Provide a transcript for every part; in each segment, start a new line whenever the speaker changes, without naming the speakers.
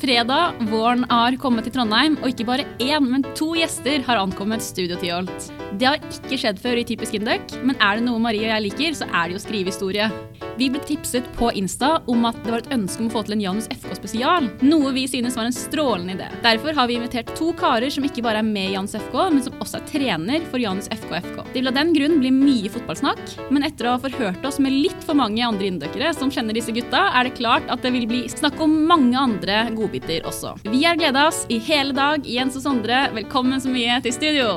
fredag, våren har kommet til Trondheim, og ikke bare én, men to gjester har ankommet Studio Tyholt. Det har ikke skjedd før i Typisk Induc, men er det noe Marie og jeg liker, så er det jo å skrive historie. Vi ble tipset på Insta om at det var et ønske om å få til en Janus FK-spesial, noe vi synes var en strålende idé. Derfor har vi invitert to karer som ikke bare er med i Janus FK, men som også er trener for Janus FK FK. Det vil av den grunn bli mye fotballsnakk, men etter å ha forhørt oss med litt for mange andre innendøkere som kjenner disse gutta, er det klart at det vil bli snakk om mange andre godbiter også. Vi har gleda oss i hele dag. Jens og Sondre, velkommen så mye til studio.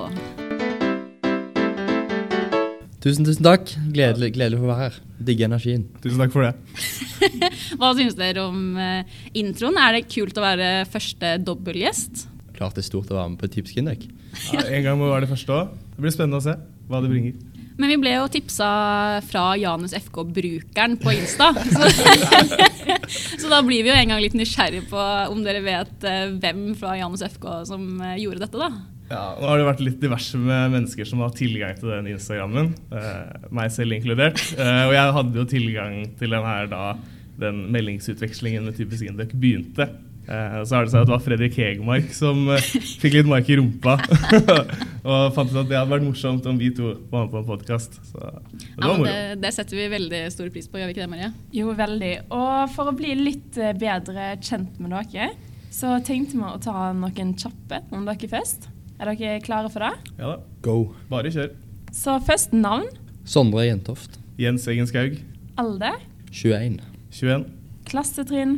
Tusen, tusen takk. Gledelig, gledelig for å være her. Digger energien.
Tusen takk for det.
Hva syns dere om eh, introen? Er det kult å være første dobbeltgjest?
Klart det er stort å være med på Typisk Indek.
Ja, en gang må være det første òg. Det blir spennende å se hva det bringer.
Men vi ble jo tipsa fra Janus FK-brukeren på Insta. Så, så da blir vi jo en gang litt nysgjerrig på om dere vet eh, hvem fra Janus FK som eh, gjorde dette, da.
Ja, nå har det vært litt diverse med mennesker som har tilgang til den Instagrammen, eh, meg selv inkludert. Eh, og jeg hadde jo tilgang til den her da den meldingsutvekslingen med Typisk Induc begynte. Eh, så er det sånn at det var Fredrik Hegemark som eh, fikk litt mark i rumpa. og fant ut at det hadde vært morsomt om vi to var med på en podkast. Så det
Ja,
var
men
moro.
det, det setter vi veldig stor pris på, gjør vi ikke det, Marie?
Jo, veldig. Og for å bli litt eh, bedre kjent med dere, så tenkte vi å ta noen kjappe om dere først. Er dere klare for det?
Ja da,
Go.
bare kjør.
Så først navn,
Sondre Jentoft.
Jens Eggen Skaug,
alder,
21.
21,
klassetrinn,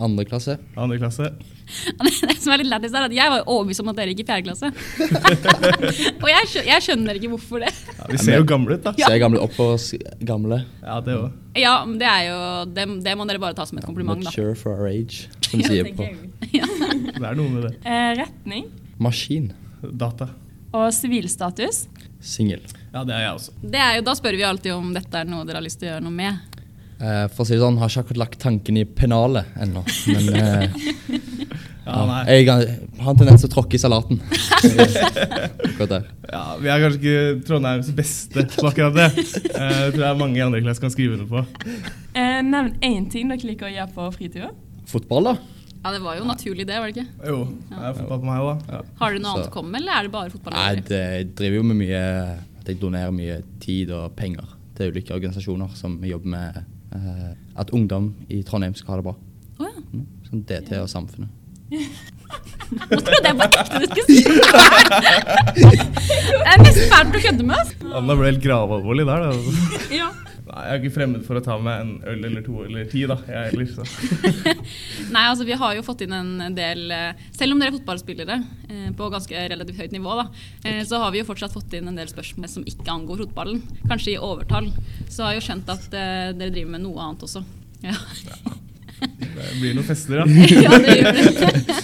Andre klasse.
andre klasse.
Det som er litt lættis, er at jeg var jo overbevist om at dere gikk i fjerde klasse. Og jeg, skjø- jeg skjønner ikke hvorfor det.
Ja, vi ser jo gamle ut, da.
Ser gamle opp for oss gamle.
Ja, det òg.
Ja, men det er jo Det, det må dere bare ta som et kompliment, da.
Mature for our age, som de sier på
Det er noe med det.
eh, retning
maskin.
Data.
og sivilstatus.
Singel.
Ja, det er jeg også.
Det er jo, da spør vi alltid om dette er noe dere har lyst til å gjøre noe med.
Eh, for å si det sånn, har ikke akkurat lagt tanken i pennalet ennå. Men eh,
Ja, nei.
jeg har har en tendens til å tråkke i salaten. Akkurat der.
Ja, vi er kanskje ikke Trondheims beste på akkurat det. Eh, Jeg tror det er mange i andre klasse kan skrive under på.
Eh, nevn én ting dere liker å gjøre på fritida.
Fotball, da?
Ja, det var jo naturlig, det, var det ikke?
Jo, det er fotball på meg òg, da.
Har dere noe
Så-
annet å komme med, eller er det bare fotball?
Nei, det, jeg driver jo med mye At jeg donerer mye tid og penger til ulike organisasjoner som jobber med eh, at ungdom i Trondheim skal ha det bra.
Å ja.
Mm, Sånn DT og samfunnet.
Nå trodde jeg på ekte du skulle si det! Det er nesten fælt å kødde med, altså.
Anna ble helt gravalvorlig der. Da. altså.
Ja.
Nei, Jeg er ikke fremmed for å ta med en øl eller to eller ti, da. Jeg heller, så.
Nei, altså vi har jo fått inn en del eh, Selv om dere er fotballspillere eh, på ganske relativt høyt nivå, da, eh, så har vi jo fortsatt fått inn en del spørsmål som ikke angår fotballen. Kanskje i overtall. Så har jeg jo skjønt at eh, dere driver med noe annet også. Ja,
Det blir noen fester, da.
ja det gjør det.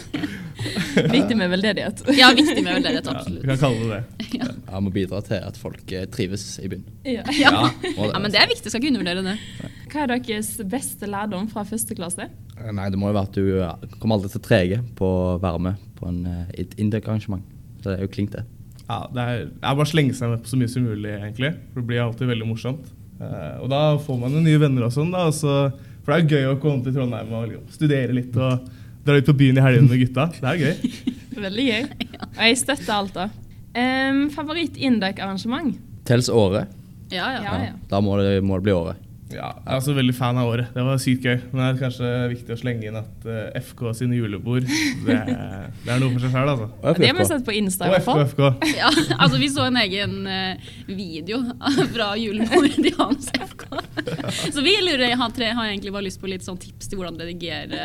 Viktig med veldedighet.
Ja, viktig med veldedighet,
Ja, vi
absolutt.
kan kalle det det.
Jeg må bidra til at folk eh, trives i byen.
Ja.
Ja.
Må
ja, men det er viktig. Skal ikke undervurdere det.
Hva er deres beste lærdom fra første klasse?
Eh, Nei, det må jo være at du eh, kommer aldri til trege på å være med på en, eh, et indøk-arrangement. Så det er jo klink, det.
Ja, det er, det er bare å slenge seg med på så mye som mulig, egentlig. For det blir alltid veldig morsomt. Eh, og da får man jo nye venner og sånn, da. og så- for det er jo gøy å komme til Trondheim og liksom, studere litt og dra ut på byen i helgene med gutta. Det er gøy.
Veldig gøy. Og jeg støtter alt, da. Um, Favoritt-induc-arrangement?
Tels året.
Ja, ja.
Ja, ja.
Da må det, må det bli året.
Ja, jeg er også veldig fan av året. Det var sykt gøy. Men det er kanskje viktig å slenge inn at eh, FK sine julebord Det, det er noe for seg sjøl, altså.
Det har vi sett på Insta. i
Og
hvert
FK,
fall.
FK.
Ja, altså Vi så en egen eh, video fra julebordet til Hans FK. Så vi lurer, har, tre, har egentlig bare lyst på litt sånn tips til hvordan redigere,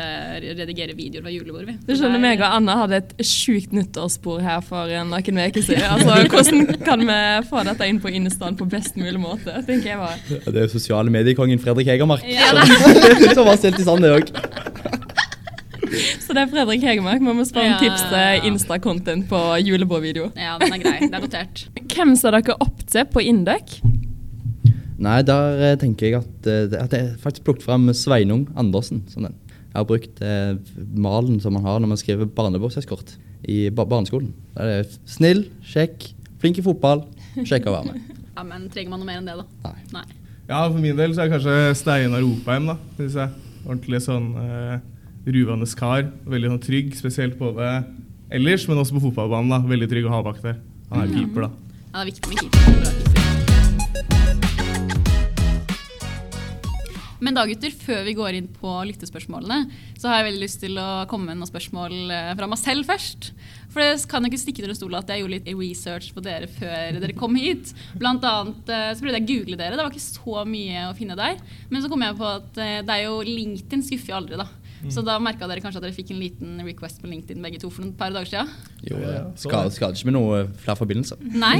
redigere videoer fra julebord. vi.
Du skjønner, meg og Anna hadde et sjukt nyttårsspor her for noen uker siden. Altså, hvordan kan vi få dette inn på Instaen på best mulig måte? tenker jeg bare.
Det er jo sosiale mediekongen Fredrik Hegermark
Ja,
som, som har stilt i stand det òg.
Så det er Fredrik Hegemark. Vi må spørre
Ja.
om tips til Insta-content på julebordvideo.
Ja, den er grei. Det er notert.
Hvem ser dere opp til på Induc?
Nei, der eh, tenker jeg at, eh, det- at jeg har faktisk plukket frem Sveinung Andersen som den. Jeg har brukt eh, malen som man har når man skriver barnebåseskort i ba barneskolen. Der er det snill, kjekk, flink i fotball, kjekk å være med.
Ja, Men trenger man noe mer enn det, da?
Nei.
Nei.
Ja, for min del så er det kanskje Steinar Opheim, da, syns jeg. Ordentlig sånn eh, ruvende kar. Veldig sånn trygg, spesielt både ellers, men også på fotballbanen. da, Veldig trygg å ha bak der. Han er keeper, da.
Ja, det er viktig med keeper. Bra keeper. Men da, gutter, før vi går inn på lyttespørsmålene, så har jeg veldig lyst til å komme med noen spørsmål eh, fra meg selv først. For det kan jo ikke stikke under stol at jeg gjorde litt research på dere før dere kom hit. Blant annet eh, så prøvde jeg å google dere, det var ikke så mye å finne der. Men så kom jeg på at eh, det er jo LinkedIn skuffer jo aldri, da. Så da merka dere kanskje at dere fikk en liten request på LinkedIn begge to for et par dager sia.
Jo,
Ja, ja,
det
så
skader,
det.
skader ikke med noe eh, flere forbindelser.
Nei.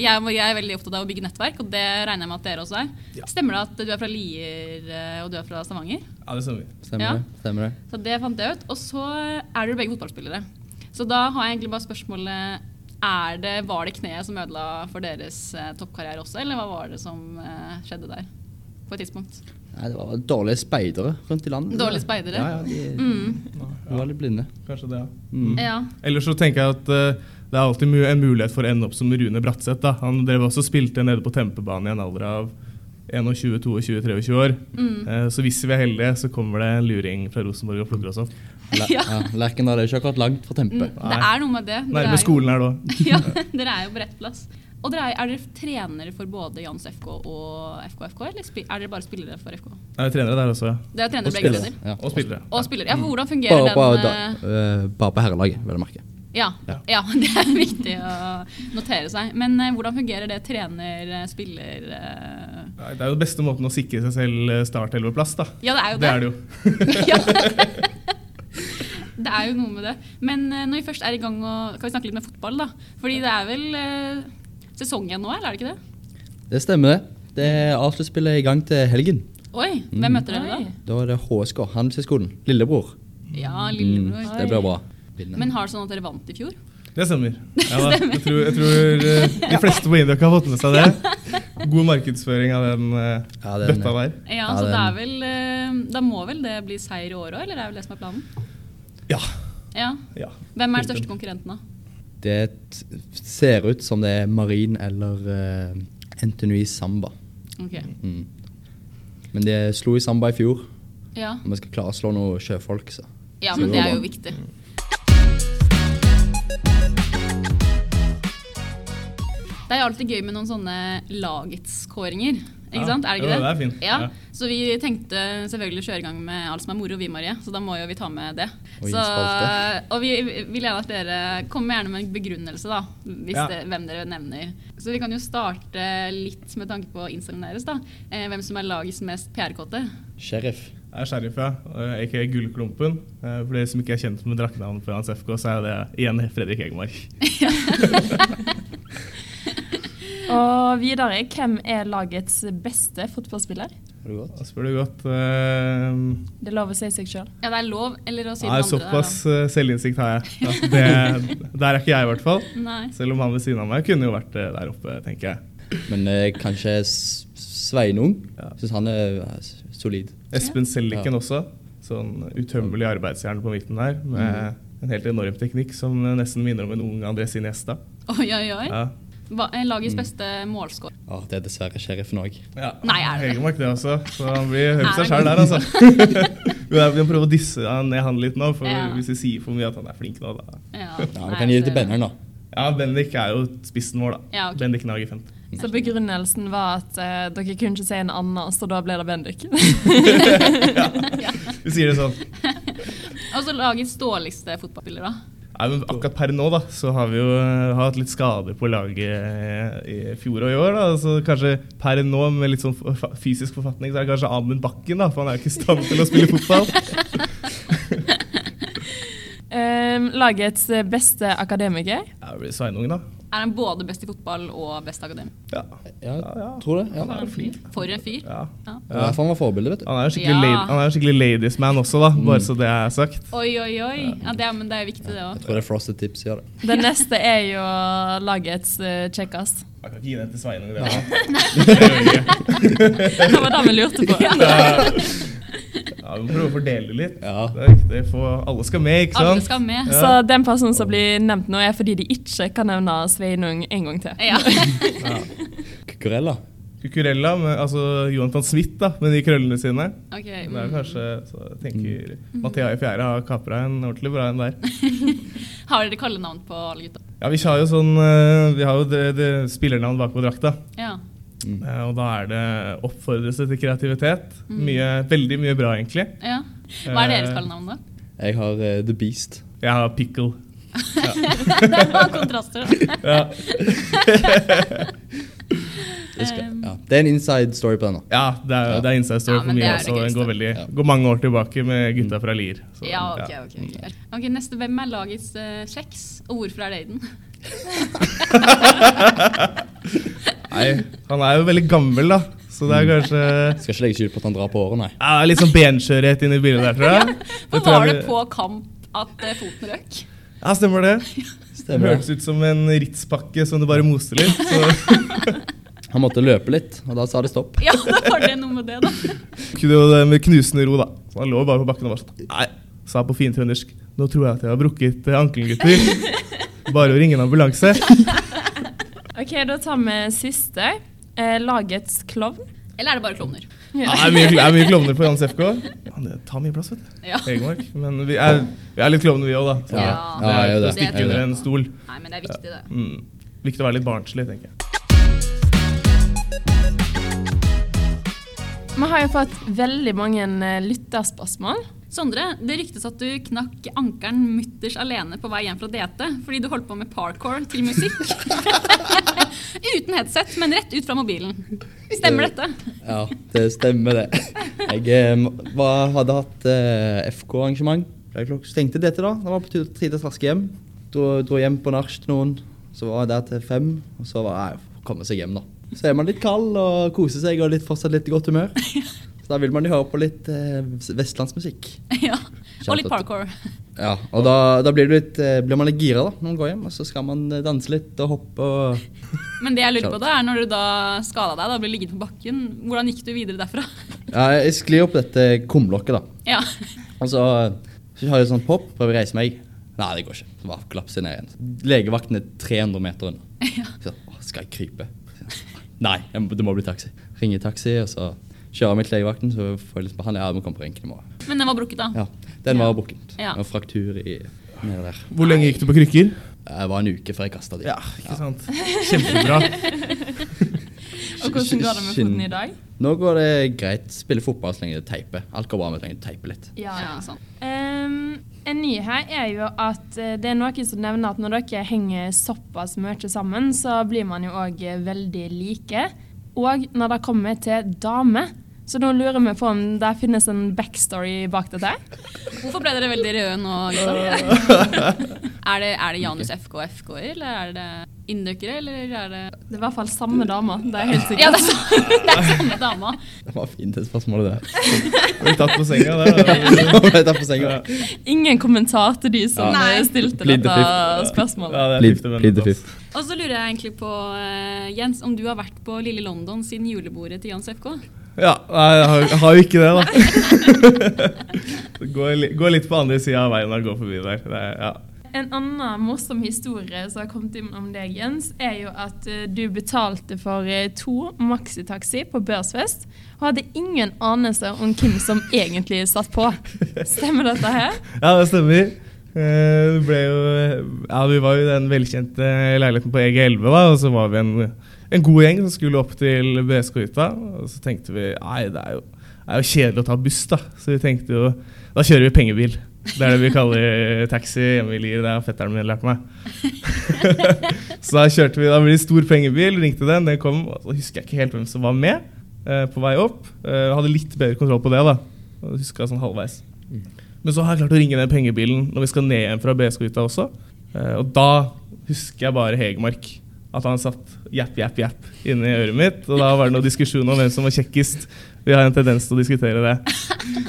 Jeg, må- jeg er veldig opptatt av å bygge nettverk, og det regner jeg med at dere også er.
Ja.
Stemmer det at du er fra Lier eh, og du er fra Stavanger?
Ja, det stemmer.
Stemmer
Ja.
det? Stemmer det?
Så det fant jeg ut. Og så er dere begge fotballspillere. Så da har jeg egentlig bare spørsmålet er det, Var det kneet som ødela for deres eh, toppkarriere også, eller hva var det som eh, skjedde der? På et tidspunkt.
Nei, det var dårlige speidere rundt i landet.
Dårlige speidere?
Ja, ja, de,
Mm.
de var litt blinde.
Kanskje det, ja.
Mm.
Ja.
Ellers så tenker jeg at eh, det er alltid mu- en mulighet for å ende opp som Rune Bratseth. da. Han drev også og spilte nede på Tempebanen i en alder av 21-22-23 år.
Mm.
Eh, Så hvis vi er heldige, så kommer det en luring fra Rosenborg og plukker oss opp.
Ler-
Eh, Ja.
ja, Lerkendal er jo ikke akkurat langt fra Tempe.
Mm, Det er noe med det. Dere er
Nærme
jo-
skolen her da.
ja, dere er jo på rett plass. Og dere er, er dere trenere for både Jans FK og FKFK, eller spi- er dere bare spillere for FK?
Nei, trenere der også, ja.
Dere er trenere
Og
begge
spillere.
steder.
Ja.
Og spillere.
Og spillere. Ja, hvordan fungerer
Bare, bare, Mm. da,
den eh,
eh, bare på herrelaget, vil jeg merke.
ja, ja, det er viktig å notere seg. Men eh, hvordan fungerer det eh, trener-spiller eh?
Nei, Det er jo den beste måten å sikre seg selv eh, startelverplass, da.
Ja, det er jo
Det er det jo.
Ja. Det er jo noe med det. Men eh, når vi først er i gang, og, kan vi snakke litt med fotball, da. Fordi det er vel eh, sesong igjen nå, eller er det ikke det?
Det stemmer, det. Det er A-sluttspillet i gang til helgen.
Oi, hvem møter dere da?
Oi.
Da er det HSK, Handelshøyskolen. Lillebror.
Ja,
Mm,
lillebror.
det blir bra. Vinner.
Men har det sånn at dere vant i fjor?
Det stemmer. Ja, da. Jeg tror, jeg tror eh, de fleste på Indøk har fått med seg det. God markedsføring av den eh,
Ja, den-
bøtta der.
Ja,
Ja,
så
den-
det er vel eh, Da må vel det bli seier i år òg, eller er vel det som er planen?
Ja.
Ja.
ja.
Hvem er den største konkurrenten, da?
Det t- ser ut som det er Marin eller eh, Anthony Samba.
Ok.
Mm. Men de slo i Samba i fjor,
Ja.
og vi skal klare å slå noen sjøfolk. Så.
ja,
Så
men
går
det er
bra.
jo viktig. Det er jo alltid gøy med noen sånne lagets kåringer. Ikke
Ja.
sant? Er det
Jo,
ikke det?
det er fint.
Ja.
Ja.
Så vi tenkte selvfølgelig å kjøre i gang med alt som er moro, vi, Marie. Så da må jo vi ta med det.
Og gi en
Så,
spalte.
og vi vil gjerne at dere kommer gjerne med en begrunnelse, da. Hvis
Ja.
det, hvem dere nevner. Så vi kan jo starte litt med tanke på Instagram deres, da. Eh, hvem som er lagets mest PR-kåte.
Sheriff.
Jeg er sheriff, ja. eh, Aka Gullklumpen. Eh, For dere som ikke er kjent med drakkenavnet på Hans FK, så er det igjen Fredrik Egemark.
Og videre, hvem er lagets beste fotballspiller?
Har du gått?
Da spør du godt. eh,
Det er lov å si seg sjøl.
Ja, det er lov, eller å si
Nei,
den andre.
såpass eh, selvinnsikt har jeg. At det, der er ikke jeg, i hvert fall.
Da. Nei.
Selv om han ved siden av meg kunne jo vært eh, der oppe, tenker jeg.
Men eh, kanskje S- Sveinung.
Ja.
Syns han er eh, s- solid.
Espen Selliken
Ja.
også. Sånn utømmelig arbeidsjern på midten der. Med en helt enorm teknikk som nesten minner om en ung André Iniesta.
Oi, oi, oi.
Ja.
Hva, eh, lagets
Mm.
beste målscore.
Ja, det er dessverre sheriffen òg.
Ja.
Nei, er det det?
Hegemark det også, så han blir høy på seg
Er
sjøl
det-
der, altså. Vi må prøve å disse han ned han litt nå, for
Ja.
hvis vi sier for mye at han er flink nå, da
Ja,
Ja,
nei,
vi kan gi
så-
det til Benner, da.
Ja, Bendik er jo spissen vår, da.
Ja, ok.
Bendik Nag i femte.
Så begrunnelsen var at eh, dere kunne ikke si en annen, så da ble det Bendik.
Vi sier det sånn.
Og så lagets dårligste fotballspiller, da.
Nei, men akkurat per nå da, så har vi jo eh, hatt litt skader på laget eh, i fjor og i år. da, så Kanskje per nå med litt sånn fa- fysisk forfatning, så er det kanskje Amund Bakken, da, for han er jo ikke i stand til å spille fotball.
Ehm, lagets beste akademiker.
Ja, det blir Sveinung, da.
Er han både best i fotball og best akademi?
Ja.
Ja,
Ja, ja.
tror det. Ja.
Han er jo flink.
For en fyr.
Ja.
Ja. Derfor han var forbilde, vet du.
Han er jo skikkelig,
Ja.
lady, han er jo skikkelig ladies man også, da, bare så det er sagt.
Oi, oi, oi. Ja, det, er- men det er jo viktig, det
Jeg
òg.
tror det er Frosted Tips gjør det.
Den neste er jo lagets eh, kjekkast.
Jeg kan ikke gi den til Sveinung, det. da.
Det var det vi lurte på.
Ja, vi må prøve å fordele det litt.
Ja.
Det er viktig, for alle skal med, ikke sant?
Alle skal med.
Så den personen som blir nevnt nå, er fordi de ikke kan nevne Sveinung en gang til.
Ja.
Kukurella.
Cucurella, med, altså Johan van Smith da, med de krøllene sine.
Ok,
Det er
mm.
jo kanskje, så jeg tenker Mathea i fjerde har kapra en ordentlig bra en der.
Har dere kallenavn på alle gutta?
Ja, Vi har jo sånn, eh, vi har jo det, det spillernavn bakpå drakta.
Ja.
Eh, Og da er det oppfordrelse til kreativitet.
Mm.
Mye, veldig mye bra, egentlig.
ja. Hva er deres
Eh,
kallenavn, da?
Jeg har eh, The Beast.
Jeg har pickle.
Det var kontraster, da.
Ja,
Det, skal,
Um.
ja. det er en inside story på den. da.
ja det er, det er inside story
Ja,
for
men det
mye
er det
også. Den
gøyeste.
går, veldig,
Ja.
går mange år tilbake med gutta fra Lier. så,
Ja, ok,
ja.
ok. ok. Ok, Neste. Hvem er lagets eh, kjeks, og hvorfor er det i den?
Nei, han er jo veldig gammel, da, så det
Mm.
er kanskje
Skal ikke legge skjul på at han drar på året, nei.
ja, det er Litt sånn benskjørhet inni bildet der, tror jeg.
For
Det tror
var
jeg
det
vi-
på kamp at eh, foten røk?
Ja, stemmer det. Det
Stemmer
hørtes
det.
ut som en Ritz-pakke som du bare moste litt. Så
Han måtte løpe litt, og da sa det stopp.
Ja, da var det noe med det, da.
kunne jo det med knusende ro, da. Så han lå bare på bakken og bare sånn Nei, sa på fint trøndersk. Nå tror jeg at jeg har brukket eh, ankelen, gutter. Bare å ringe en ambulanse.
OK, da tar vi siste. Eh, lagets klovn.
Eller er det bare klovner?
Ja, det er mye, det er mye klovner på Jans FK. Han eh, tar mye plass, vet du.
Ja.
Egenmark. Men vi er, vi er litt klovner, vi òg, da. Så
Ja.
det
Ja,
er
jeg er
ikke
det.
å stikke
Jeg er
under
det.
en stol.
Nei, men det er viktig, det.
Mm. Viktig å være litt barnslig, tenker jeg.
Vi har jo fått veldig mange eh, lytterspørsmål.
Sondre, det ryktes at du knakk ankelen mutters alene på vei hjem fra DT fordi du holdt på med parkour til musikk. Uten headset, men rett ut fra mobilen.
Eh,
Stemmer dette?
Ja, det stemmer, det. Jeg eh, m- var, hadde hatt eh, FK-arrangement. Jeg klok- stengte dette da. Det var på tur- tide å traske hjem. Dro, dro hjem på nach til noen. Så var jeg der til fem, og så var jeg å komme seg hjem, da. Så er man litt kald og koser seg og litt, fortsatt litt i godt humør. Så da vil man jo høre på litt eh, vestlandsmusikk.
Ja. Og litt parkour.
Ja, og da, da blir, du litt, eh, blir man litt gira da, når man går hjem, og så skal man eh, danse litt og hoppe og
Men det jeg lurer på da, er når du da skada deg da ble liggende på bakken, hvordan gikk du videre derfra?
Ja, jeg sklir opp dette kumlokket da.
Ja.
Og så, så har jeg sånn hopp, prøver å reise meg. Nei, det går ikke. Så bare klapser jeg ned igjen. Legevakten er 300 meter unna.
Ja.
Så, å, skal jeg krype? Nei, jeg må, det må bli taxi. Ringer taxi, og så kjører jeg meg til legevakten, så får jeg liksom behandling. Ja, vi kommer på renken i morgen.
Men den var brukket, da.
Ja, den var
Ja.
bukket.
Ja.
Og fraktur i, nede der.
Hvor lenge gikk du på krykker?
Det var en uke før jeg kastet det.
Ja, ikke sant. Kjempebra.
Og hvordan går det med foten i dag?
Nå går det greit. Spille fotball så lenge det teiper. Alt går bra med så lenge det teiper litt.
Ja, sånn.
Ehm, en ny her er jo at eh, det er noen som nevner at når dere henger såpass mye sammen, så blir man jo òg veldig like. Og når det kommer til damer. Så nå lurer vi på om det finnes en backstory bak dette.
Hvorfor ble dere veldig røde nå? gutta? Er det, er det Janus FK og FK-er, eller er det inndøkere, eller er det
Det er i hvert fall samme dame. Det er helt sikkert.
Ja, det er samme, det er samme dama.
Det var fint, det spørsmålet der.
Ble tatt på senga der.
Nå ble jeg tatt på senga.
Ingen kommentar til de som
Ja.
eh, stilte
Plead the
dette
fifth.
spørsmålet.
det er
Plead-
fifth amendment,
plead the
ass.
fifth.
Og så lurer jeg egentlig på, eh, Jens, om du har vært på lille London siden julebordet til Jans FK?
Ja, nei, jeg har, jeg har jo ikke det, da. Det går, li- går litt på andre sida av veien når jeg går forbi der. Det er, ja.
En annen morsom historie som har kommet inn om deg, Jens, er jo at eh, du betalte for eh, to maxitaxi på børsfest og hadde ingen anelse om hvem som egentlig satt på. Stemmer dette her?
ja, det stemmer. Eh, Det ble jo Ja, vi var jo i den velkjente leiligheten på EG11, da, og så var vi en, en god gjeng som skulle opp til BSK-hytta. Og så tenkte vi nei, det er, jo, det er jo kjedelig å ta buss, da. Så vi tenkte jo da kjører vi pengebil. Det er det vi kaller eh, taxi hjemme i Lier. Det har fetteren min lært meg. Så da kjørte vi, da ble det stor pengebil, ringte den, den kom, og så husker jeg ikke helt hvem som var med eh, på vei opp. Eh, hadde litt bedre kontroll på det da, og husker jeg sånn halvveis. Men så har jeg klart å ringe den pengebilen når vi skal ned igjen fra BSK-hytta også, eh, og da husker jeg bare Hegemark. At han satt japp, japp, japp inne i øret mitt. Og da var det noen diskusjon om hvem som var kjekkest. Vi har en tendens til å diskutere det.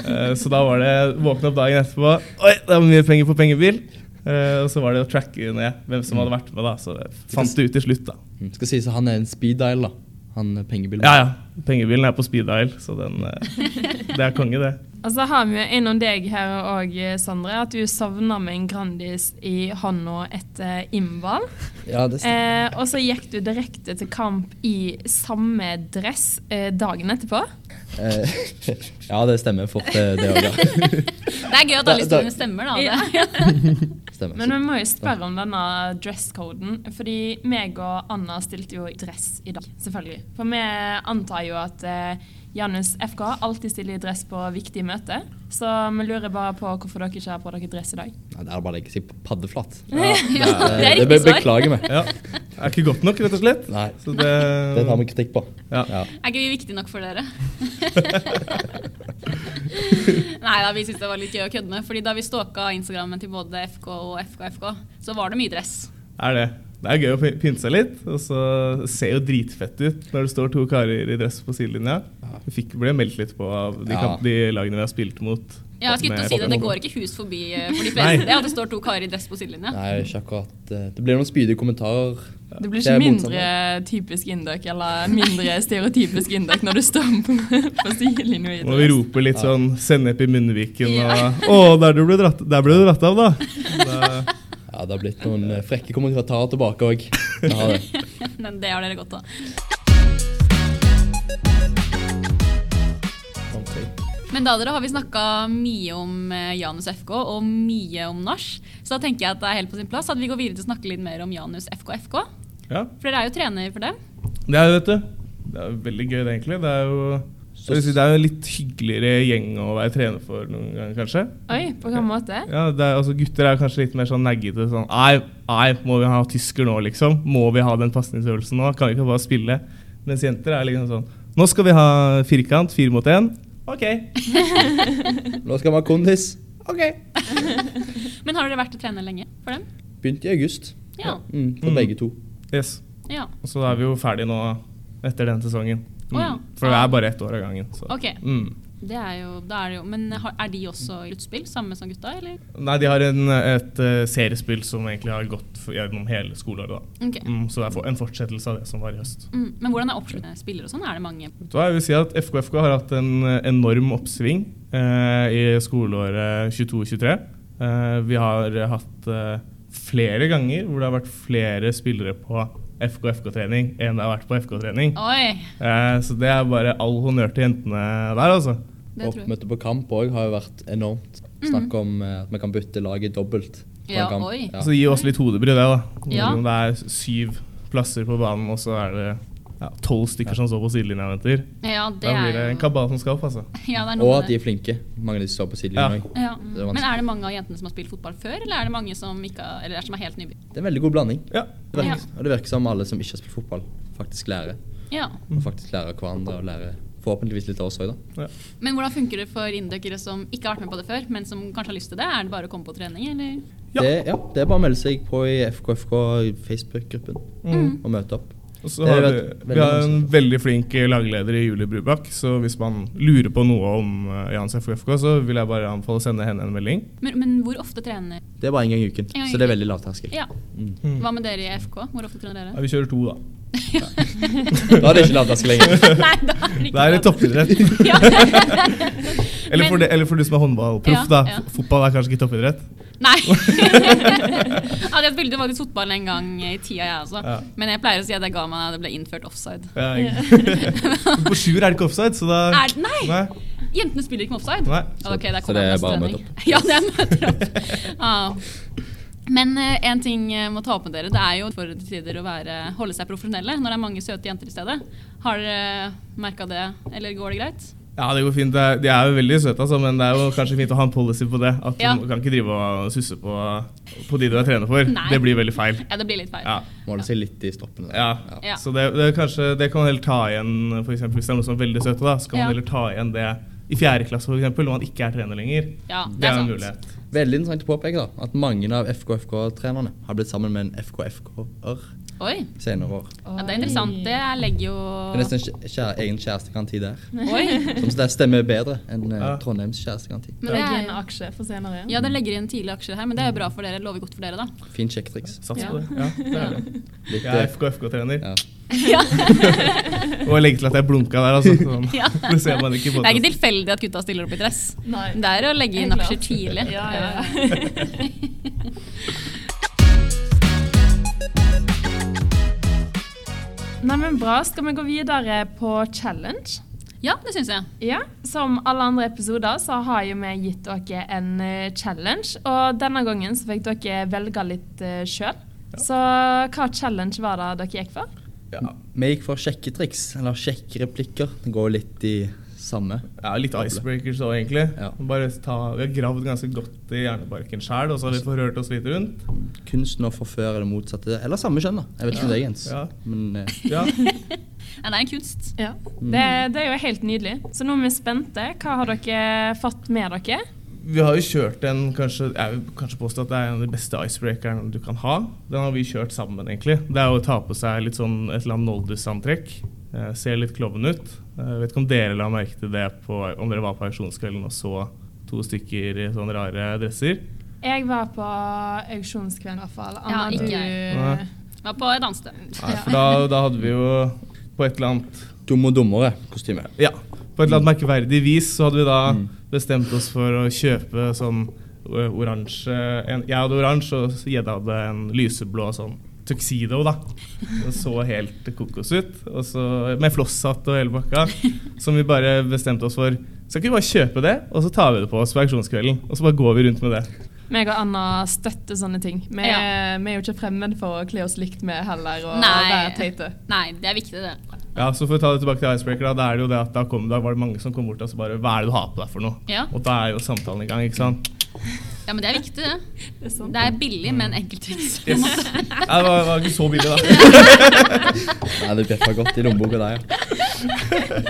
Eh, Så da var det våkne opp dagen etterpå. Oi, det var mye penger på pengebil. Eh, og så var det å tracke ned hvem som hadde vært med, da. Så fant det ut til slutt, da.
Mm. Skal sies at han er en speed dial, da. Han eh, pengebilen.
Ja, ja. Pengebilen er på speed dial, så den eh, Det er konge, det.
Og så har vi jo innom deg her òg, Sondre, at du sovna med en Grandis i hånda etter innball.
Ja, det stemmer.
Eh, og så gikk du direkte til kamp i samme dress eh, dagen etterpå.
Eh, ja, det stemmer fort, eh, det òg. Ja.
Det er gøy at alle
Da- da-
historiene stemmer, da. Det.
Stemmer.
Men vi må jo spørre om denne dresscoden, fordi meg og Anna stilte jo i dress i dag, selvfølgelig. For vi antar jo at eh, Janus FK alltid stiller i dress på viktige møter, så vi lurer bare på hvorfor dere ikke har på dere dress i dag.
Nei, det er bare å legge seg paddeflat.
Ja,
det er
Eh,
riktig
be-
svar.
beklager vi.
Ja. Er ikke godt nok, rett og slett.
Nei,
Så det,
det tar vi kritikk på.
Ja.
Er ikke vi viktige nok for dere? Nei da, vi syntes det var litt gøy å kødde med. Fordi da vi stalka Instagrammen til både FK og FKFK, så var det mye dress.
Er det. Det er gøy å py- pynte seg litt. Og så ser jo dritfett ut når det står to karer i dress på sidelinja. Vi fikk, ble meldt litt på av de,
Ja.
kamp, de lagene vi har spilt mot.
Ja, jeg skulle til å si Det det går ikke hus forbi eh, for de
Nei.
fleste det, at det står to karer i dress på sidelinja.
Nei, ikke akkurat eh, Det blir noen spydige kommentarer.
Det blir
Det er
ikke
motsatt.
mindre typisk indøk, eller mindre stereotypisk indøk når du står på, på sidelinja i
Og vi
dress.
roper litt
Ja.
sånn sennep i munnviken
Ja.
og 'Å, der du ble dratt, der ble du dratt av, da'. da
Ja, det har blitt noen eh, frekke kommentarer tilbake òg.
Men det har dere godt av. Men da dere har vi snakka mye om eh, Janus FK og mye om nach. Så da tenker jeg at det er helt på sin plass at vi går videre til å snakke litt mer om Janus FKFK.
ja.
For dere er jo trener for dem.
Det er jo, vet du. Det er jo veldig gøy, det, egentlig. Det er jo jeg vil si, det er jo en litt hyggeligere gjeng å være trener for noen ganger, kanskje.
Oi, på hvilken måte?
Ja, det er, altså, gutter er kanskje litt mer sånn naggete. Sånn, nei, nei, må vi ha tysker nå, liksom? Må vi ha den pasningsøvelsen nå? Kan vi ikke bare spille? Mens jenter er liksom sånn Nå skal vi ha firkant, fire mot én. OK.
Nå skal vi ha kondis.
ok.
Men har dere vært og trener lenge for dem?
Begynt i august.
Ja.
Mm, for
Mm.
begge to.
Yes.
ja.
Og så er vi jo ferdig nå etter den sesongen. Mm.
Å ja.
For det er bare ett år av gangen. Så.
Ok.
Mm.
Det er jo, da er det jo Men har- er de også i utspill, samme som gutta, eller?
Nei, de har en, et eh, seriespill som egentlig har gått for- gjennom hele skoleåret. da.
Ok.
Mm, så det er for- en fortsettelse av det som var i høst.
Mm. Men hvordan er oppsluttende spillere og sånn? Er det mange?
Vet du hva, jeg vil si at FKFK har hatt en eh, enorm oppsving eh, i skoleåret 22-23. Eh, vi har hatt eh, flere ganger hvor det har vært flere spillere på FK-FK-trening enn det har vært på FK-trening.
Oi!
Eh, så det er bare all honnør til jentene der, altså.
Det tror jeg. Mm.
Oppmøte på kamp òg har jo vært enormt. Snakk om eh, at vi kan bytte laget dobbelt. på en
Ja,
kamp.
oi.
Ja.
Så gi oss litt hodebry, det, da.
Ja.
Om det er syv plasser på banen, og så er det ja, tolv stykker som står på sidelinja og venter.
Ja, det
Da blir det
er
en
jo
kabal som skal opp, altså.
ja, det er noe
Og
med
at de er flinke. Mange av de som står på
Ja.
sidelinjen òg.
Ja.
Det er vanskelig.
Men er det mange av jentene som har spilt fotball før, eller er det mange som, ikke, har- eller som er helt nybegynnere?
Det er en veldig god blanding.
Ja.
Det virker,
Ja.
Og det virker som alle som ikke har spilt fotball, faktisk lærer.
Ja.
Og faktisk lærer av hverandre og lærer forhåpentligvis litt av oss òg, da.
ja.
Men hvordan funker det for inndøkkere som ikke har vært med på det før, men som kanskje har lyst til det? Er det bare å komme på trening, eller?
Ja.
Det, ja, det er bare å melde seg på i FKFK Facebook-gruppen
Mm.
og møte opp.
Og så
Det
har
er
vi,
veldig-
vi har en
veldig
veldig flink lagleder i Julie Brubakk, så hvis man lurer på noe om eh, Jans FFK, så vil jeg bare anbefale å sende henne en melding.
Men, men hvor ofte trener
Det er bare én gang i uken,
En gang i
så det er
uken.
veldig lavterskel. Mm.
Ja. Hva med dere i FK? Hvor ofte trener
Ja,
dere?
vi kjører to, da.
Da er det ikke lavterskel lenger.
Nei, da er det ikke
Det er
sant.
litt toppidrett.
Ja.
Eller for,
Men-
de, eller for du som er håndballproff,
Ja,
da.
ja.
F- Fotball er kanskje ikke toppidrett.
Nei. ja, jeg spilte faktisk fotball en gang i tida, jeg også.
Ja.
Men jeg pleier å si at jeg ga meg da det ble innført offside.
Ja, ikke- På sjuer er det ikke offside, så da
Er det- nei! Jentene spiller ikke med offside.
Nei.
Ok, der
Så
kommer
det
jeg på
er bare å
trening.
møte
Ja, det er møter opp. Ja. Men eh, en ting jeg må ta opp med dere, det er jo for til tider å være, holde seg profesjonelle når det er mange søte jenter i stedet. Har dere merka det, eller går det greit?
Ja, det går fint. Det er- De er jo veldig søte, altså, men det er jo kanskje fint å ha en policy på det. At
Ja.
Du kan ikke drive og susse på, på de du er trener for.
Nei.
Det blir veldig feil.
Ja, det blir litt feil.
Ja.
Måler seg litt i stroppene. da.
Ja.
Ja.
Så det, det, er kanskje, det kan man heller ta igjen for eksempel, hvis det er noen som er veldig søte. da, Så kan
Ja.
man heller ta igjen det i fjerde klasse for eksempel, når man ikke er trener lenger.
Ja, det
Det
er
er en
sant.
mulighet.
Veldig interessant å påpeke da, at mange av FKFK-trenerne har blitt sammen med en FKFK-er
Oi,
senere år.
ja, det er interessant. Det legger jo
Det sånn- er nesten en kjære, egen kjærestegaranti der.
Oi.
Som så det stemmer bedre enn eh,
Ja.
Trondheims kjærestegaranti.
Men
Det
det
er
er,
en aksje for senere.
ja, det legger inn tidlige aksjer her, men det er jo bra for dere. Lover godt for dere, da.
Fint sjekketriks.
Sats
Ja.
på det. Ja, det er det.
Litt,
Jeg er
eh,
FKFK-trener.
ja.
Ja.
Og legge til at jeg blunka der, altså. Sånn.
Ja.
Det ser man ikke i
Det er ikke
podcasten.
tilfeldig at gutta stiller opp i dress.
Nei.
Det er å legge inn
Helt klart.
aksjer tidlig.
Ja, ja, ja. Nei, men bra. Skal vi gå videre på challenge?
Ja, det syns jeg.
Ja, som alle andre episoder så har jo vi gitt dere en eh, challenge, og denne gangen så fikk dere velge litt uh, sjøl. Så hva challenge var det dere gikk for?
Ja. Vi gikk for sjekketriks, eller sjekkereplikker. Det går litt i samme.
Ja, litt icebreakers òg, egentlig.
Ja.
Bare ta, vi har gravd ganske godt i hjernebarken sjæl, og så har vi forhørt oss litt rundt.
Kunsten å forføre det motsatte. Eller samme kjønn, da. Jeg vet ikke om det er ens.
Ja.
Men eh,
Ja.
Nei, det er en kunst.
Ja. Det, det er jo helt nydelig. Så nå er vi spente. Hva har dere fått med dere?
Vi har jo kjørt en kanskje, Jeg vil kanskje påstå at det er en av de beste icebreakerne du kan ha. Den har vi kjørt sammen, egentlig. Det er jo å ta på seg litt sånn et eller annet Noldus-antrekk. Eh, ser litt klovn ut. Eh, vet ikke om dere la merke til det på, om dere var på auksjonskvelden og så to stykker i sånne rare dresser.
Jeg var på auksjonskvelden i hvert fall.
Ja, ikke jeg.
Nei.
Var på et annet sted.
Nei, for da, da hadde vi jo på et eller annet
dum og dummere kostyme.
Ja. På et eller annet merkeverdig vis så hadde vi da bestemt oss for å kjøpe sånn ø, oransje en, Jeg hadde oransje, og Gjedde hadde en lyseblå sånn tuxedo, da. Den så helt kokos ut. Og så, med flosshatt og hele pakka. Som vi bare bestemte oss for. Skal ikke vi bare kjøpe det, og så tar vi det på oss på auksjonskvelden? Og så bare går vi rundt med det.
Meg og Anna støtter sånne ting. Vi,
Ja.
vi er jo ikke fremmed for å kle oss likt med heller og
Nei.
være teite.
Nei, det er viktig, det.
Ja, så for å ta det tilbake til Icebreaker, da, da er det jo det at da, kom, da var det mange som kom bort og så bare Hva er det du har på deg for noe?
Ja.
Og da er jo samtalen i gang, ikke sant?
Ja, men det er viktig, det.
Det er sant.
Det er billig, men enkelttriks.
Yes. Ja, det var, var ikke så billig, da.
Nei, det bjeffa godt i lommeboka der, ja.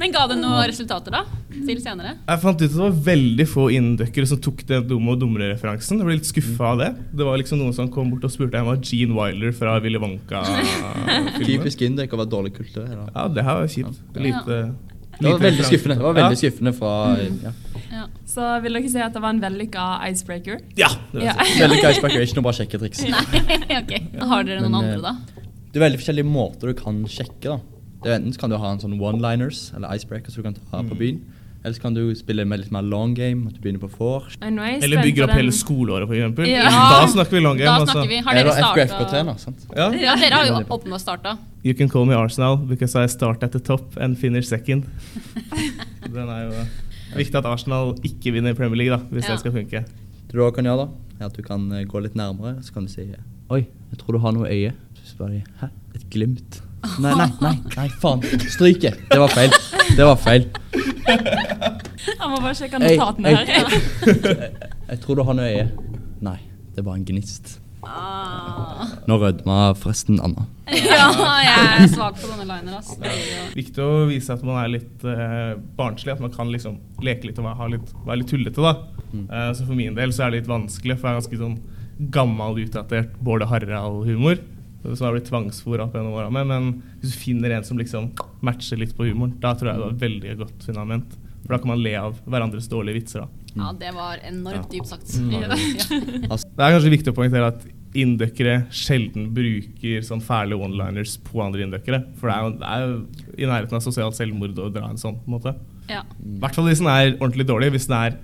Men ga det noen resultater, da? Til senere?
Jeg fant ut at det var veldig få innendøkkere som tok den dumme og dummere-referansen. Jeg ble litt skuffa av det. Det var liksom noen som kom bort og spurte om jeg var Gene Wilder fra Willy Wonka-filmen.
Typisk indek å være dårlig kultur. eller?
Ja, det her var kjipt. Lite,
Det var
lite
veldig
referanse.
skuffende. Det var
Ja.
veldig skuffende fra ja.
Ja.
Så vil dere si at det var en vellykka icebreaker?
Ja, det var
Ja.
sant.
Veldig Geisberg er ikke noe bra sjekketriks.
Nei, ok. Har dere noen
Men, eh,
andre, da?
Det er veldig forskjellige måter du kan sjekke. da. Det er Enten så kan du ha en sånn one-liners eller icebreaker som du kan ta på byen. Eller så kan du spille med litt mer long game, at du begynner på vors.
Nei, nå er jeg
Eller
spent
bygger
på
opp
den.
hele skoleåret, for eksempel.
Ja.
Da snakker vi long game. altså.
Da snakker vi. Har dere
Eller FKFKT,
starta
da. sant?
Ja.
Ja, dere har jo åpna og starta.
You can call me Arsenal because I start at the top and finish second. Den er jo Viktig at Arsenal ikke vinner Premier League, da, hvis
Ja.
det skal funke.
Det du også kan gjøre, da, er at du kan eh, gå litt nærmere, så kan du si Oi, jeg tror du har noe i øyet. Så spør de Hæ? Et glimt? Nei, nei, nei, nei, faen. Stryket. Det var feil. Det var feil.
Jeg må bare sjekke
Ei,
notatene
ei.
her.
Jeg tror du har noe i øyet. Nei, det var en gnist.
Ah.
Nå rødma forresten Anna.
Ja, jeg er svak på sånne liner, ass.
Viktig å vise at man er litt eh, barnslig, at man kan liksom leke litt og være, ha litt, være litt tullete. da.
Mm.
Eh, så for min del så er det litt vanskelig, for jeg er ganske sånn gammel, utdatert Bård og Harald-humor. Som jeg har blitt tvangsfôra opp gjennom åra med. Men hvis du finner en som liksom matcher litt på humoren, da tror jeg det var et veldig godt fundament. For da kan man le av hverandres dårlige vitser.
Ja,
da.
Mm.
det var enormt dypt sagt.
Det er kanskje viktig å poengtere at Inndøkkere sjelden bruker sånn fæle one-liners på andre inndøkkere. For det er, jo, det er jo i nærheten av sosialt selvmord å dra en sånn. på en måte.
Ja.
I hvert fall hvis den er ordentlig dårlig. Hvis den er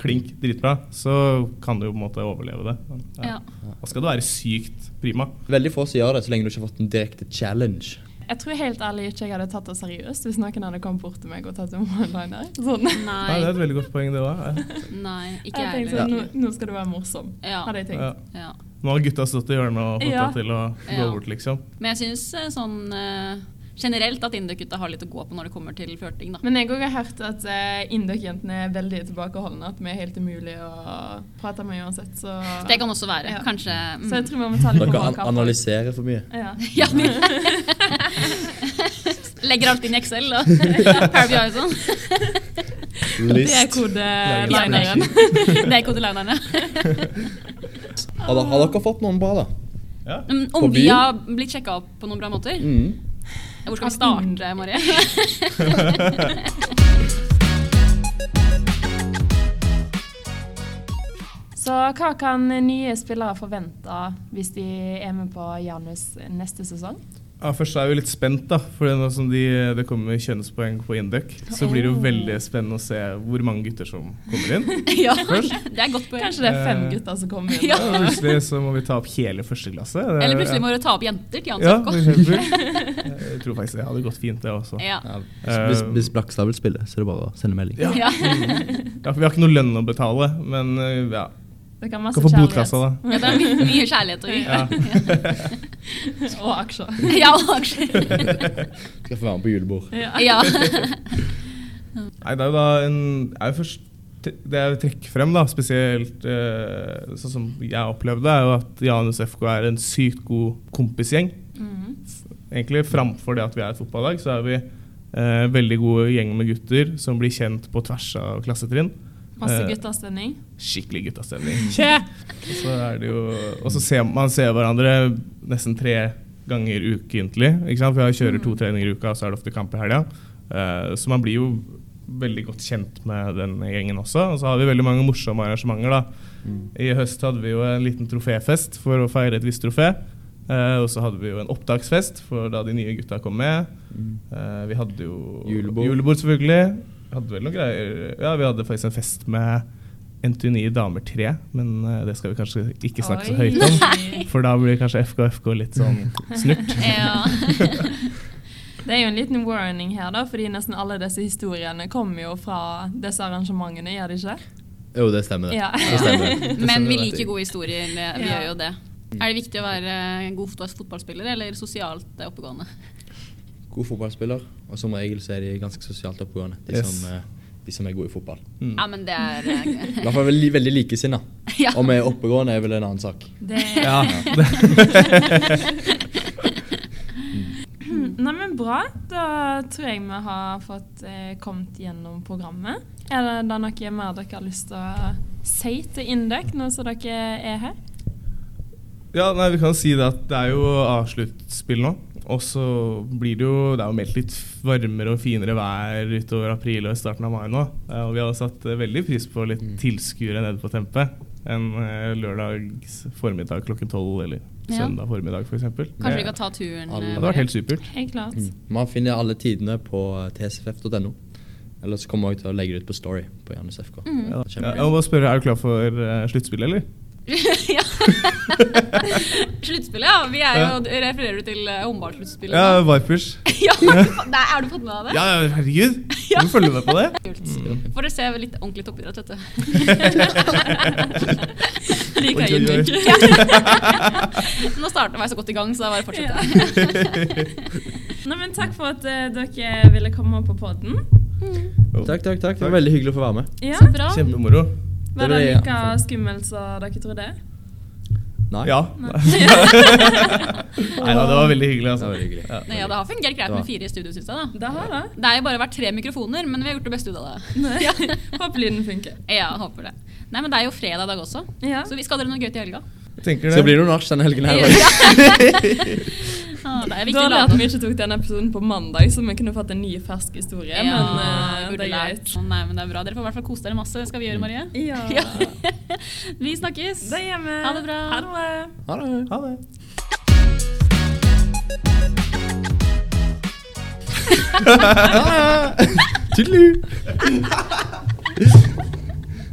klink dritbra, så kan du jo på en måte overleve det. Men,
Ja.
Da skal du være sykt prima.
Veldig få som gjør det, så lenge du ikke har fått en direkte challenge.
Jeg tror helt ærlig ikke jeg hadde tatt det seriøst hvis noen hadde kommet bort til meg og tatt en one-liner. Sånn.
Nei, det er
Nei,
et veldig godt poeng, det òg.
nei, ikke
Jeg
jeg
tenkte sånn, nå,
heller.
nå skal du være morsom,
Ja.
hadde jeg
Ja.
tenkt.
Ja.
Nå har gutta stått i hjørnet og fått
Ja.
deg til å gå
Ja.
bort, liksom.
Men jeg syns sånn eh, generelt at indokutta har litt å gå på når det kommer til flørting, da.
Men jeg også har hørt at eh, indok-jentene er veldig tilbakeholdne, at vi er helt umulig å prate med uansett. Så,
Det kan også være.
Ja.
Kanskje mm.
så jeg tror vi må ta litt på
Dere
vår
an analyserer for mye.
Ja.
Ja, men- Legger alt inn i Excel, da. Power BI og sånn.
Det er kodelineren.
Det er kodelinerne.
Har, dere- har dere fått noen bra, da?
Ja.
Mm,
På
Om vi
byen?
har blitt sjekka opp på noen bra måter?
Mm.
Hvor skal vi
Mm.
starte, Marie?
Så hva kan nye spillere forvente hvis de er med på Janus neste sesong?
Ja, Først er jeg jo litt spent, da. For nå som de, det kommer kjønnspoeng på Induc, så blir det jo
Oh.
veldig spennende å se hvor mange gutter som kommer inn.
Ja,
Først?
det er godt poeng.
Kanskje det er fem
Eh,
gutter som kommer inn?
Ja.
Og plutselig så må vi ta opp hele første klasse. Det er-
Eller plutselig må du ta opp jenter til Jan
ja, for
Sokko.
eksempel. Jeg tror faktisk det hadde gått fint, det også. Eh,
Ja.
Ja, Eh, hvis hvis Blakstad vil spille, så er det bare å sende melding.
Ja.
Ja, for vi har ikke noe lønn å betale, men eh, ja.
Dere har masse
Kan få
kjærlighet.
botkassa, da.
Ja, det er mye, mye kjærlighet å gi.
Ja.
Og aksjer.
Ja, og aksjer.
Skal få være med på julebord.
Ja.
Nei, det er jo da en er jo først, Det jeg vil trekke frem, da, spesielt eh, sånn som jeg opplevde, er jo at Janus FK er en sykt god kompisgjeng. Egentlig Framfor det at vi er et fotballag, så er vi eh, veldig gode gjeng med gutter som blir kjent på tvers av klassetrinn.
Masse
Eh,
gutterstemning.
Skikkelig guttastemning. Og så er det jo Og så ser man ser hverandre nesten tre ganger ukentlig. Ikke sant? For jeg kjører to treninger i uka, og så er det ofte kamp i helga. Eh, så man blir jo veldig godt kjent med den gjengen også. Og så har vi veldig mange morsomme arrangementer, da.
Mm.
I høst hadde vi jo en liten troféfest for å feire et visst trofé. Eh, og så hadde vi jo en opptaksfest for da de nye gutta kom med.
Mm.
Eh, vi hadde jo
Julebord.
selvfølgelig. Vi hadde vel noen greier Ja, vi hadde faktisk en fest med Entony damer 3, men eh, det skal vi kanskje ikke snakke så
Oi.
høyt om. For da blir kanskje FK FK litt sånn snurt.
Ja.
Det er jo en liten warning her, da, fordi nesten alle disse historiene kommer jo fra disse arrangementene, gjør de ikke?
Jo, det stemmer, det.
Ja.
det, stemmer, det. det
Men
stemmer,
vi
det.
liker gode historier. Vi vi
Ja.
gjør jo det. Er det viktig å være en god fotball- fotballspiller eller sosialt eh, oppegående?
God fotballspiller, og som regel så er de ganske sosialt oppegående, de,
Yes.
som, eh, de som er gode i fotball.
Mm.
Ja, men det er eh,
I hvert fall veldig, veldig likesinna.
Ja.
Om jeg er oppegående, er vel en annen sak.
Det
Ja.
Nei, men bra. Da tror jeg vi har fått eh, kommet gjennom programmet. Er det da noe mer dere har lyst til å si til Indøk nå som dere er her?
ja, nei, vi kan si det at det er jo avsluttspill nå. Og så blir det jo Det er jo meldt litt varmere og finere vær utover april og i starten av mai nå. Eh, Og vi hadde satt eh, veldig pris på litt
Mm.
tilskuere nede på Tempet en eh, lørdags formiddag klokken tolv eller
Ja.
søndag formiddag f.eks.
Kanskje vi kan ta turen? eh,
Alle.
Det hadde vært helt supert.
Helt klart.
Mm. Man finner alle tidene på tcff.no. Eller så kommer jeg til å legge det ut på Story på Janus FK.
Mm.
Ja,
Det er
jeg
kjempegøy.
må bare spørre, Er du klar for eh, sluttspill, eller?
ja. Sluttspillet, ja. Vi er jo, refererer du til eh, håndballsluttspillet?
Ja,
nå?
Vipers.
ja. Nei, har du fått med deg det?
Ja, ja, herregud! Du må følge med på det. Mm.
Kult. Får dere se litt ordentlig toppidrett, vet du.
Like
Oi, oi, oi.
Indøk.
Nå starter jeg så godt i gang, så det er bare å fortsette.
Nei, men takk for at eh, dere ville komme på podden.
Takk, takk, takk. Det var veldig hyggelig å få være med.
Ja,
Så bra.
Kjempemoro.
Var
Det
det
var-
like skummelt som dere trodde?
Nei,
Ja. Nei da, det var veldig hyggelig.
det
Altså.
var veldig hyggelig.
Ja.
Nei, ja, det har fungert greit
Ja.
med fire i studio, syns jeg. da.
Det har det.
Det er jo bare vært tre mikrofoner, men vi har gjort det beste ut av det.
Ja. Håper lyden funker.
Ja, håper det. Nei, men det er jo fredag i dag også,
Ja.
så vi skal dere noe gøy til helga.
Jeg Tenker
Så det
det.
blir noe nach denne helgen her.
Ja. Ah, det er viktig å
Da hadde
lade
at vi ikke tok denne episoden på mandag, så vi kunne fått en ny, fersk historie.
Ja,
men eh,
burde
det er
lært.
greit.
Å, Nei, men det er bra. Dere får i hvert fall kose dere masse. Det skal vi gjøre, Marie.
Ja.
Ja. Vi snakkes.
Det gjør vi.
Ha det bra.
Ha det.
Ha det.
Ha
Ha
det.
det. Tudelu.